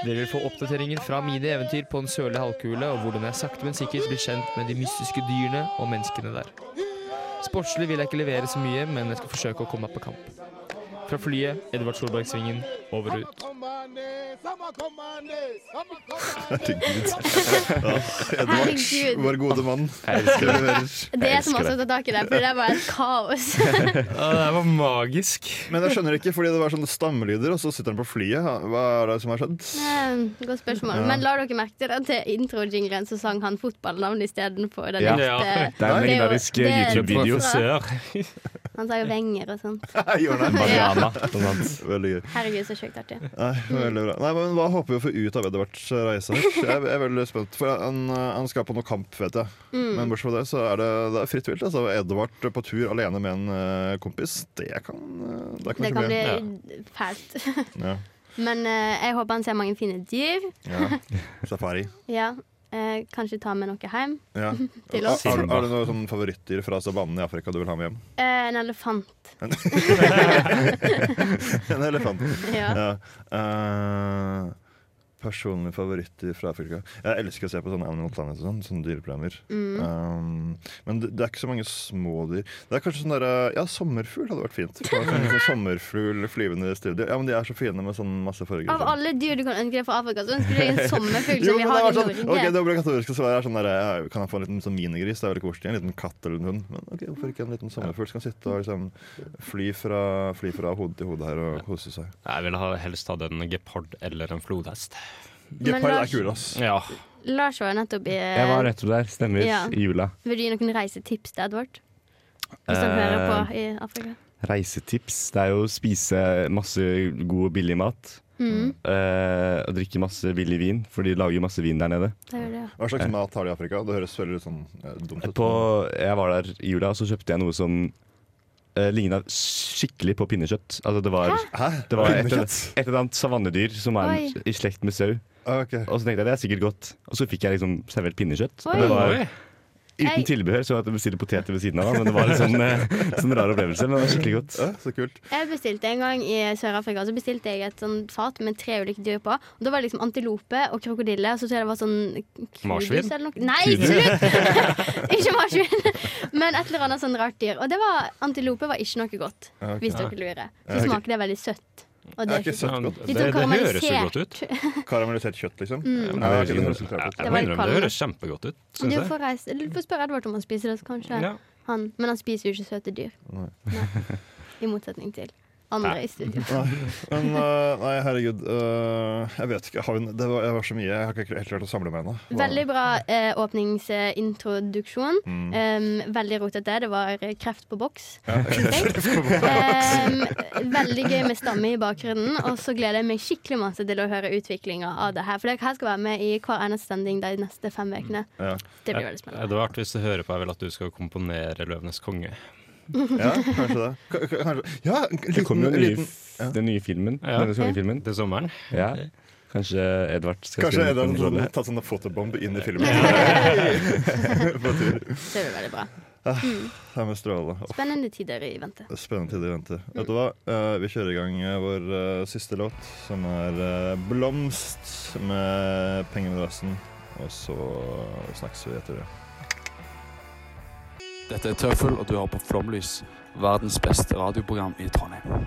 K: Dere vil få oppdateringer fra mine eventyr på den sørlige halvkule, og hvordan jeg sakte, men sikkert blir kjent med de mystiske dyrene og menneskene der. Sportslig vil jeg ikke levere så mye, men jeg skal forsøke å komme meg på kamp. Fra flyet, Edvard Solbergsvingen, over og ut.
D: Herregud. Ja,
E: Herregud.
D: Edvard, vår gode mann.
G: Jeg elsker det.
E: Det er
G: Jeg
E: jeg som
G: elsker
E: også tar tak i det, for det er bare et kaos.
F: det var magisk.
D: Men jeg skjønner ikke, fordi det var sånne stammelyder, og så sitter han på flyet. Hva er det som har skjedd? [LAUGHS]
E: Eh, Godt spørsmål. Men la dere merke til at til introjingeren så sang han fotballnavn istedenfor den
G: Ja.
F: Ja.
E: ekte. Det er
G: Det er en
E: jo-
G: legendarisk eh,
E: det er-
G: YouTube-video.
F: Sør.
E: Han sa jo Wenger og sånn.
D: Gjorde han?
G: Mariana. blant annet.
D: Veldig gøy.
E: Herregud, så sjukt artig.
D: Nei, veldig bra. Nei, men Hva håper vi å få ut av Edvards eh, reise? her? Jeg jeg er veldig spent, for han, han skal på noe kamp, vet jeg.
E: Mm.
D: Men bortsett fra det, så er det, det er fritt vilt. Altså, Edvard på tur alene med en eh, kompis, det kan, eh, det kan
E: Det
D: ikke
E: kan
D: bli
E: bli fælt.
D: ja.
E: Men eh, jeg håper han ser mange fine dyr.
D: Ja. Safari.
E: Ja, eh, Kanskje ta med noe hjem.
D: Ja.
E: [LAUGHS] Til
D: Har,
E: oss.
D: har har du noen sånn favorittdyr fra savannen i Afrika du vil ha med hjem? [LAUGHS]
E: Eh, en elefant.
D: En elefant.
E: Ja.
D: Ja. Eh, personlige favoritter fra Afrika. Jeg elsker å se på sånne Animal Planet og sånn, sånne dyreprogrammer.
E: Mm.
D: Um, men det, det er ikke så mange små dyr. Det er kanskje sånn der, eh, Ja, sommerfugl hadde vært fint. Bare sånn, sånn sommerfugl flyvende studio. Ja, men de er så fine med sånn masse farger.
E: Av alle dyr du kan ønske deg fra Afrika, så ønsker du deg en sommerfugl
D: jo, men
E: som vi
D: det
E: har
D: var
E: i
D: sånn,
E: Norge.
D: ok, det obligatoriske svaret er sånn der, ja, Kan jeg få en liten sånn minigris? Det er veldig koselig. En liten katt eller en hund. Men ok, hvorfor ikke en liten sommerfugl som kan sitte og liksom fly fra, fly fra hode til hode her og kose seg?
F: Jeg ville ha- helst hatt en gepard eller en flodhest.
E: Men
D: Gepard
E: Lars-
D: er kul, ass.
F: Ja.
E: Lars var jo nettopp i
G: Jeg var nettopp der. Stemmer.
E: Ja.
G: I jula.
E: Vil du gi noen reisetips til Edvard? Hvis han
G: Eh,
E: hører på i Afrika.
G: Reisetips. Det er jo å spise masse god og billig mat.
E: Mm,
G: eh, og drikke masse billig vin, for de lager jo masse vin der nede.
E: det gjør det, ja.
D: Hva slags mat har de i Afrika? Det høres veldig litt sånn eh, dumt ut.
G: På, jeg var der i jula, og så kjøpte jeg noe som uh, ligna skikkelig på pinnekjøtt. Altså det var,
D: Hæ?
G: det var et,
D: Pinnekjøtt?
G: et eller annet savannedyr som er en, i slekt med sau.
D: Ah, ok.
G: Og så tenkte jeg det er sikkert godt. Og så fikk jeg liksom servert pinnekjøtt.
E: Oi.
G: Og det var
F: Oi.
E: Ei.
G: Uten tilbehør, så jeg måtte bestille poteter ved siden av. da, Men det var en sånn, eh, sånn rar opplevelse. Men det var skikkelig godt.
D: Ja, så kult.
E: Jeg bestilte en gang i Sør-Afrika Så bestilte jeg et sånn fat med tre ulike dyr på. Og Da var det liksom antilope og krokodille. Og så tror jeg det var sånn
F: Marsvin?
E: kubus eller noe. Nei, slutt! [LAUGHS] ikke marsvin, men et eller annet sånn rart dyr. Og det var, antilope var ikke noe godt,
D: Ja, ok.
E: hvis dere lurer. Så smaker det veldig søtt. Og
D: Jeg har ikke sett godt.
E: Litt sånn karamellisert.
D: Karamellisert kjøtt, liksom?
E: Mm.
D: Nei,
E: Men
D: jeg har ikke
F: det er
D: noe
F: ikke-
D: resultat.
E: Det var litt kvalm.
F: kjempegodt ut.
E: Du får, reise, du får spørre Edvard om han spiser det, så kanskje
F: Ja.
E: han Men han spiser jo ikke søte dyr.
D: Nei.
E: I motsetning til andre
D: [LAUGHS]
E: i studio.
D: Nei, men, øh, nei herregud. øh, jeg vet ikke. Jeg har, en- det var, jeg var så mye. Jeg har ikke helt klart å samle meg ennå. Hva-
E: Veldig bra eh, åpningsintroduksjon.
D: Mm.
E: Em, veldig rotete. Det var eh, kreft på boks.
D: Ja. [LAUGHS]
E: Em, veldig gøy med stamme i bakgrunnen. Og så gleder jeg meg skikkelig masse til å høre utviklinga av det her. For det her skal være med i hver eneste sending de neste fem ukene. Det blir veldig spennende.
F: Edvard, hvis du hører på, jeg vil at du skal komponere 'Løvenes konge'.
D: Ja, kanskje det. K k- kanskje. Ja, en liten,
G: Det kommer jo en ny,
D: liten
G: f- den nye filmen.
F: Ja.
G: Denne kongefilmen.
F: Til sommeren.
G: Ja. Kanskje Edvard skal
D: Kanskje
G: spille en
D: Edvard
G: rolle.
D: har tatt sånne fotobombe inn i filmen. [LAUGHS] På tur.
E: Det blir veldig bra.
D: Ja,
E: Mm.
D: Det er med stråle. Åh,
E: Spennende tider i vente.
D: det er Spennende tider i vente. Vet du hva? Eh, vi kjører i gang eh, vår eh, siste låt, som er eh, 'Blomst' med Pengedrassen. Og så snakkes vi etter det.
I: Dette er Tøffel, og du hører på Flomlys, verdens beste radioprogram i Trondheim.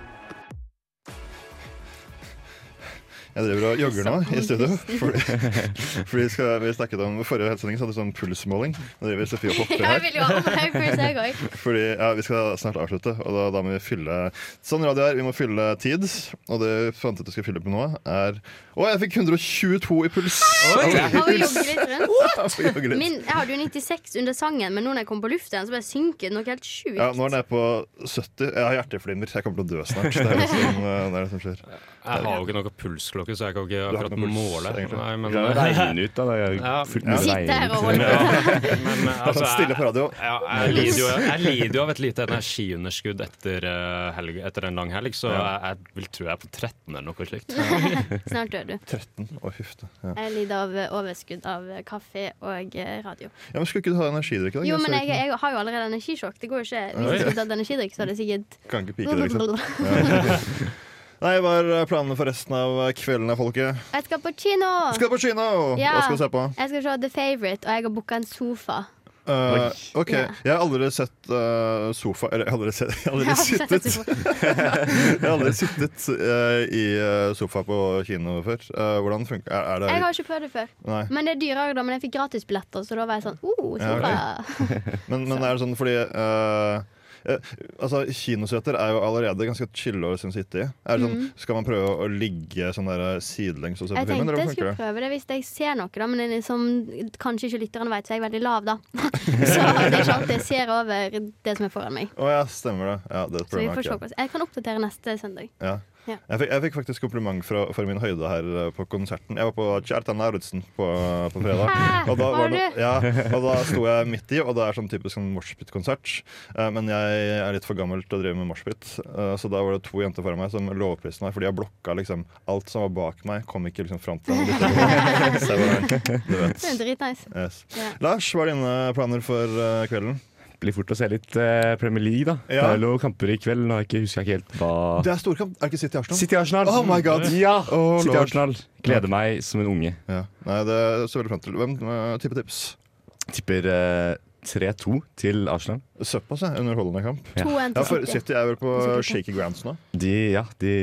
D: Jeg driver og jogger nå i studio.
E: Pusten.
D: Fordi, [LAUGHS] fordi skal, vi snakket om forrige helsending, så hadde vi sånn pulsmåling. Nå driver Sofie og hopper
E: Jeg vil jo ha
D: her.
E: meg først, jeg òg.
D: Fordi ja, Vi skal snart avslutte, og da, da må vi fylle Sånn radio er, vi må fylle tid. Og det vi fant ut vi skal fylle på nå, er Å, jeg fikk 122 i puls!
E: Oi!
D: Jeg
E: Har vi
D: fikk
E: jogget litt
D: [LAUGHS] Jeg
E: rundt?
D: får jogge litt.
E: Min, jeg hadde jo 96 under sangen, men nå når jeg kom på luften, igjen, så bare synker det noe helt sjukt.
D: Ja, Nå er den nede på 70. Jeg har hjerteflimmer. Jeg kommer til å dø snart. Det er det som, det, er det som
F: [LAUGHS]
D: skjer.
F: Jeg har jo ikke noe pulsklokke, så jeg kan ikke
D: Du har
F: akkurat
D: ikke noe puls,
F: måle.
D: egentlig.
F: Nei, men,
D: Du kan
F: [LAUGHS]
D: regne
G: ut, da. Det er jo fullt mulig å
E: Sitt der og hold
F: Ja, men,
D: Det er
F: altså,
D: sånn [LAUGHS] stille på radio.
F: Ja, jeg, lider jo, jeg lider jo av et lite energiunderskudd etter, eh, helg, etter en lang helg, så jeg,
D: Ja.
F: jeg vil tro jeg er på 13 eller noe slikt.
E: Snart dør du.
D: 13. Å, huff da. Ja.
E: Jeg lider av eh, overskudd av eh, kaffe og eh, radio.
D: ja, men Skulle ikke du ha energidrikk i dag?
E: Jo, men
D: så
E: jeg, jeg har jo allerede energisjokk. Det går jo ikke. Hvis
D: Oi.
E: jeg skulle tatt energidrikk, så hadde jeg sikkert
D: Kan ikke pike det,
E: [LAUGHS]
D: liksom. Ja. [LAUGHS] Nei, hva er planene for resten av kvelden, da, folket?
E: Jeg skal på kino!
D: Skal på kino!
E: Ah. Ja.
D: Hva skal du se på?
E: Jeg skal se The Favourite, og jeg har booka en sofa.
D: Eh, ok,
E: Ja.
D: Jeg har aldri sett eh, sofa Eller jeg har aldri, sett, jeg har aldri
E: [LAUGHS] Jeg har aldri
D: sittet [LAUGHS] Jeg har aldri sittet eh, i eh, sofa på kino før. Eh, hvordan funker er, er det?
E: Jeg har ikke prøvd det før.
D: Nei.
E: Men det er dyrere, da. Men jeg fikk gratisbilletter, så da var jeg sånn oh,
D: Ja,
E: sofa.
D: Men, men er det sånn fordi eh, eh, Altså, Kinoseter er jo allerede ganske chille å synes sitte i. Er det sånn,
E: Mhm.
D: Skal man prøve å ligge sånn der sidelengs og se på
E: Jeg
D: filmen? Eller
E: tenkte jeg
D: hvordan funker
E: skulle
D: det?
E: prøve det hvis jeg ser noe, da, men det er liksom, kanskje ikke lytterne vet, så er jeg veldig lav, da. [LAUGHS] Så det er ikke alltid jeg ser over det som er foran meg.
D: Å ja, stemmer det. Ja, det er et
E: Så vi
D: problem,
E: får se
D: ok.
E: hvordan Jeg kan oppdatere neste søndag.
D: Ja.
E: Ja.
D: Jeg, fikk, jeg fikk faktisk kompliment fra, for min høyde her eh, på konserten. Jeg var på Kjartan Lauritzen på, på fredag.
E: Hæ?
D: Og da,
E: Var
D: det,
E: du?
D: ja, og da sto jeg midt i, og det er sånn typisk sånn moshpit-konsert. Eh, Men jeg er litt for gammel til å drive med moshpit, eh, så da var det to jenter foran meg som lovpriste meg, for de har blokka liksom alt som var bak meg, kom ikke liksom fram til dem. Så jeg var- Du vet.
E: Det er dritnice.
D: Yes.
E: Ja.
D: Lars, hva er dine planer for eh, kvelden?
G: Blir fort å se litt eh, Premier League, da.
D: Ja.
G: Det er jo noen kamper i kveld. Nå har jeg ikke, husker jeg ikke helt hva
D: Det er storkamp. Er det ikke City Arsenal?
G: City Arsenal!
D: Oh my god.
G: Ja!
D: Å,
G: City
D: lord.
G: Arsenal. Gleder meg som en unge.
D: Ja. Nei, det ser jeg veldig frem til. Hvem eh, tipper tips?
G: Tipper eh, 3-2 til Arsenal.
D: Såpass, ja. Underholdende kamp.
G: Ja.
E: 2-1
D: Ja,
E: til
D: for
E: City.
D: City er vel på
E: City, ja.
D: shaky grounds nå?
G: De, ja, de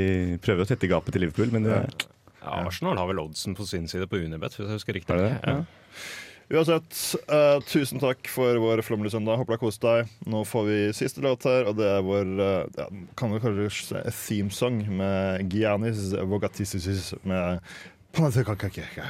G: prøver å tette gapet til Liverpool, men eh, det er
F: Ja, Arsenal har vel oddsen på sin side på Unibet, hvis jeg husker riktig.
G: Er det det?
F: Ja.
D: Uansett, eh, tusen takk for vår flommelige søndag. Håper du har kost deg. Nå får vi siste låt her, og det er vår eh, ja, kan vi kalle det theme song med Giannis Vogatisisis med Panathekakakeka.